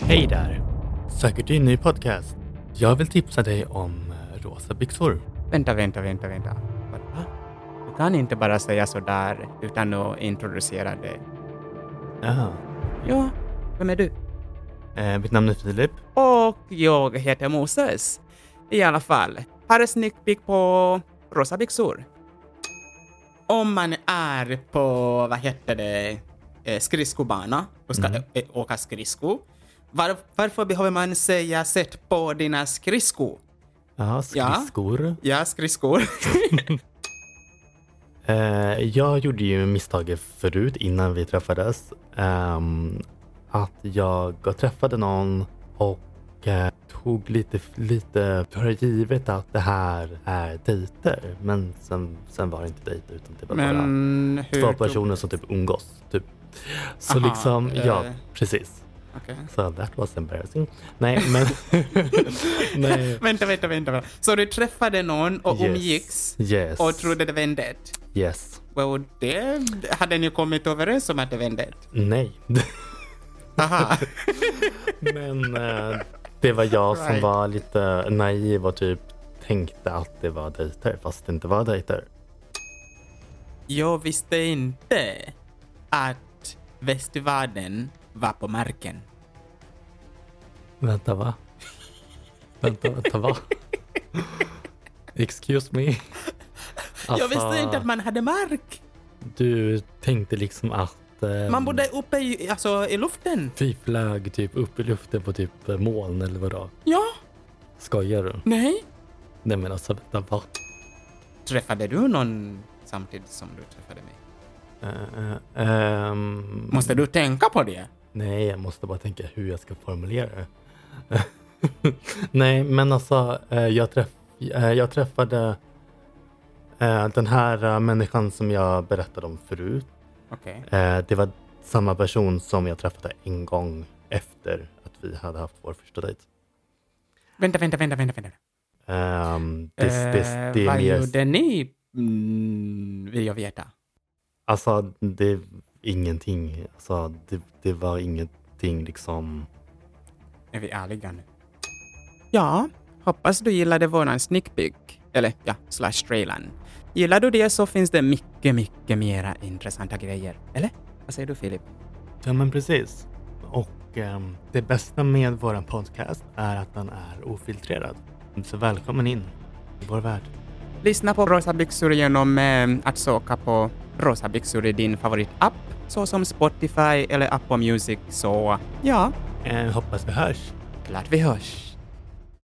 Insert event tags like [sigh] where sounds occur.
Hej där! Söker du en ny podcast? Jag vill tipsa dig om eh, rosa byxor. Vänta, vänta, vänta, vänta. Vad- Va? Du kan inte bara säga sådär utan att introducera dig. Jaha. Ja, vem är du? Eh, mitt namn är Filip. Och jag heter Moses. I alla fall, här är sneak peek på rosa byxor. Om man är på, vad heter det, eh, skridskobana och Mm. ska eh, åka skridsko, var, varför behöver man säga sätt på dina skridskor? Jaha, skridskor. Ja, skridskor. Eh, jag gjorde ju misstaget förut innan vi träffades. ehm, att jag träffade någon och eh, tog lite, lite för givet att det här är dejter. Men sen, sen var det inte dejter utan det var bara Men hur... två tog- personer som typ umgås. Typ. Så Aha, liksom, ja, eh. precis. Okej. Så that was embarrassing. Nej, men... [laughs] Nej. [laughs] Vänta, vänta, vänta. vänta. Så du träffade någon och Yes. umgicks Yes. och trodde det var en dejt? Yes. Well, det hade ni kommit överens om att det var en dejt? Nej. Aha. [laughs] men eh, det var jag som Right. var lite naiv och typ tänkte att det var dejter fast det inte var dejter. Jag visste inte att västvärlden var på marken. Vänta, va? Vänta, vänta, va? Excuse me? Jag visste Alltså, inte att man hade mark. Du tänkte liksom att... eh, Man bodde uppe i, alltså, i luften. Vi flög typ upp i luften på typ moln eller vadå? Ja, Skojar du? nej. Nej men alltså vänta va? Träffade du någon samtidigt som du träffade mig? Eh, eh, ehm, Måste du tänka på det? Nej, jag måste bara tänka hur jag ska formulera det. [laughs] nej, men alltså eh, jag, träff, eh, jag träffade eh, den här eh, människan som jag berättade om förut. Okej. Eh, det var samma person som jag träffade en gång efter att vi hade haft vår första dejt. Vänta, vänta, vänta, vänta, vänta. Ehm, det, det, Eh, det, är vad mer gjorde ni? Mm, vill jag veta. Alltså, det ingenting. Alltså, det, det var ingenting liksom. Är vi ärliga nu? Ja, hoppas du gillade våran sneak peek. Eller ja, slash trailern. Gillar du det så finns det mycket, mycket mera intressanta grejer. Eller? Vad säger du Filip? Ja, men precis. Och ehm, det bästa med vår podcast är att den är ofiltrerad. Så välkommen in i vår värld. Lyssna på Rosa byxor genom eh, att söka på Rosa byxor i din favoritapp, såsom Spotify eller Apple Music. Så ja, Eh, hoppas vi hörs. klart vi hörs.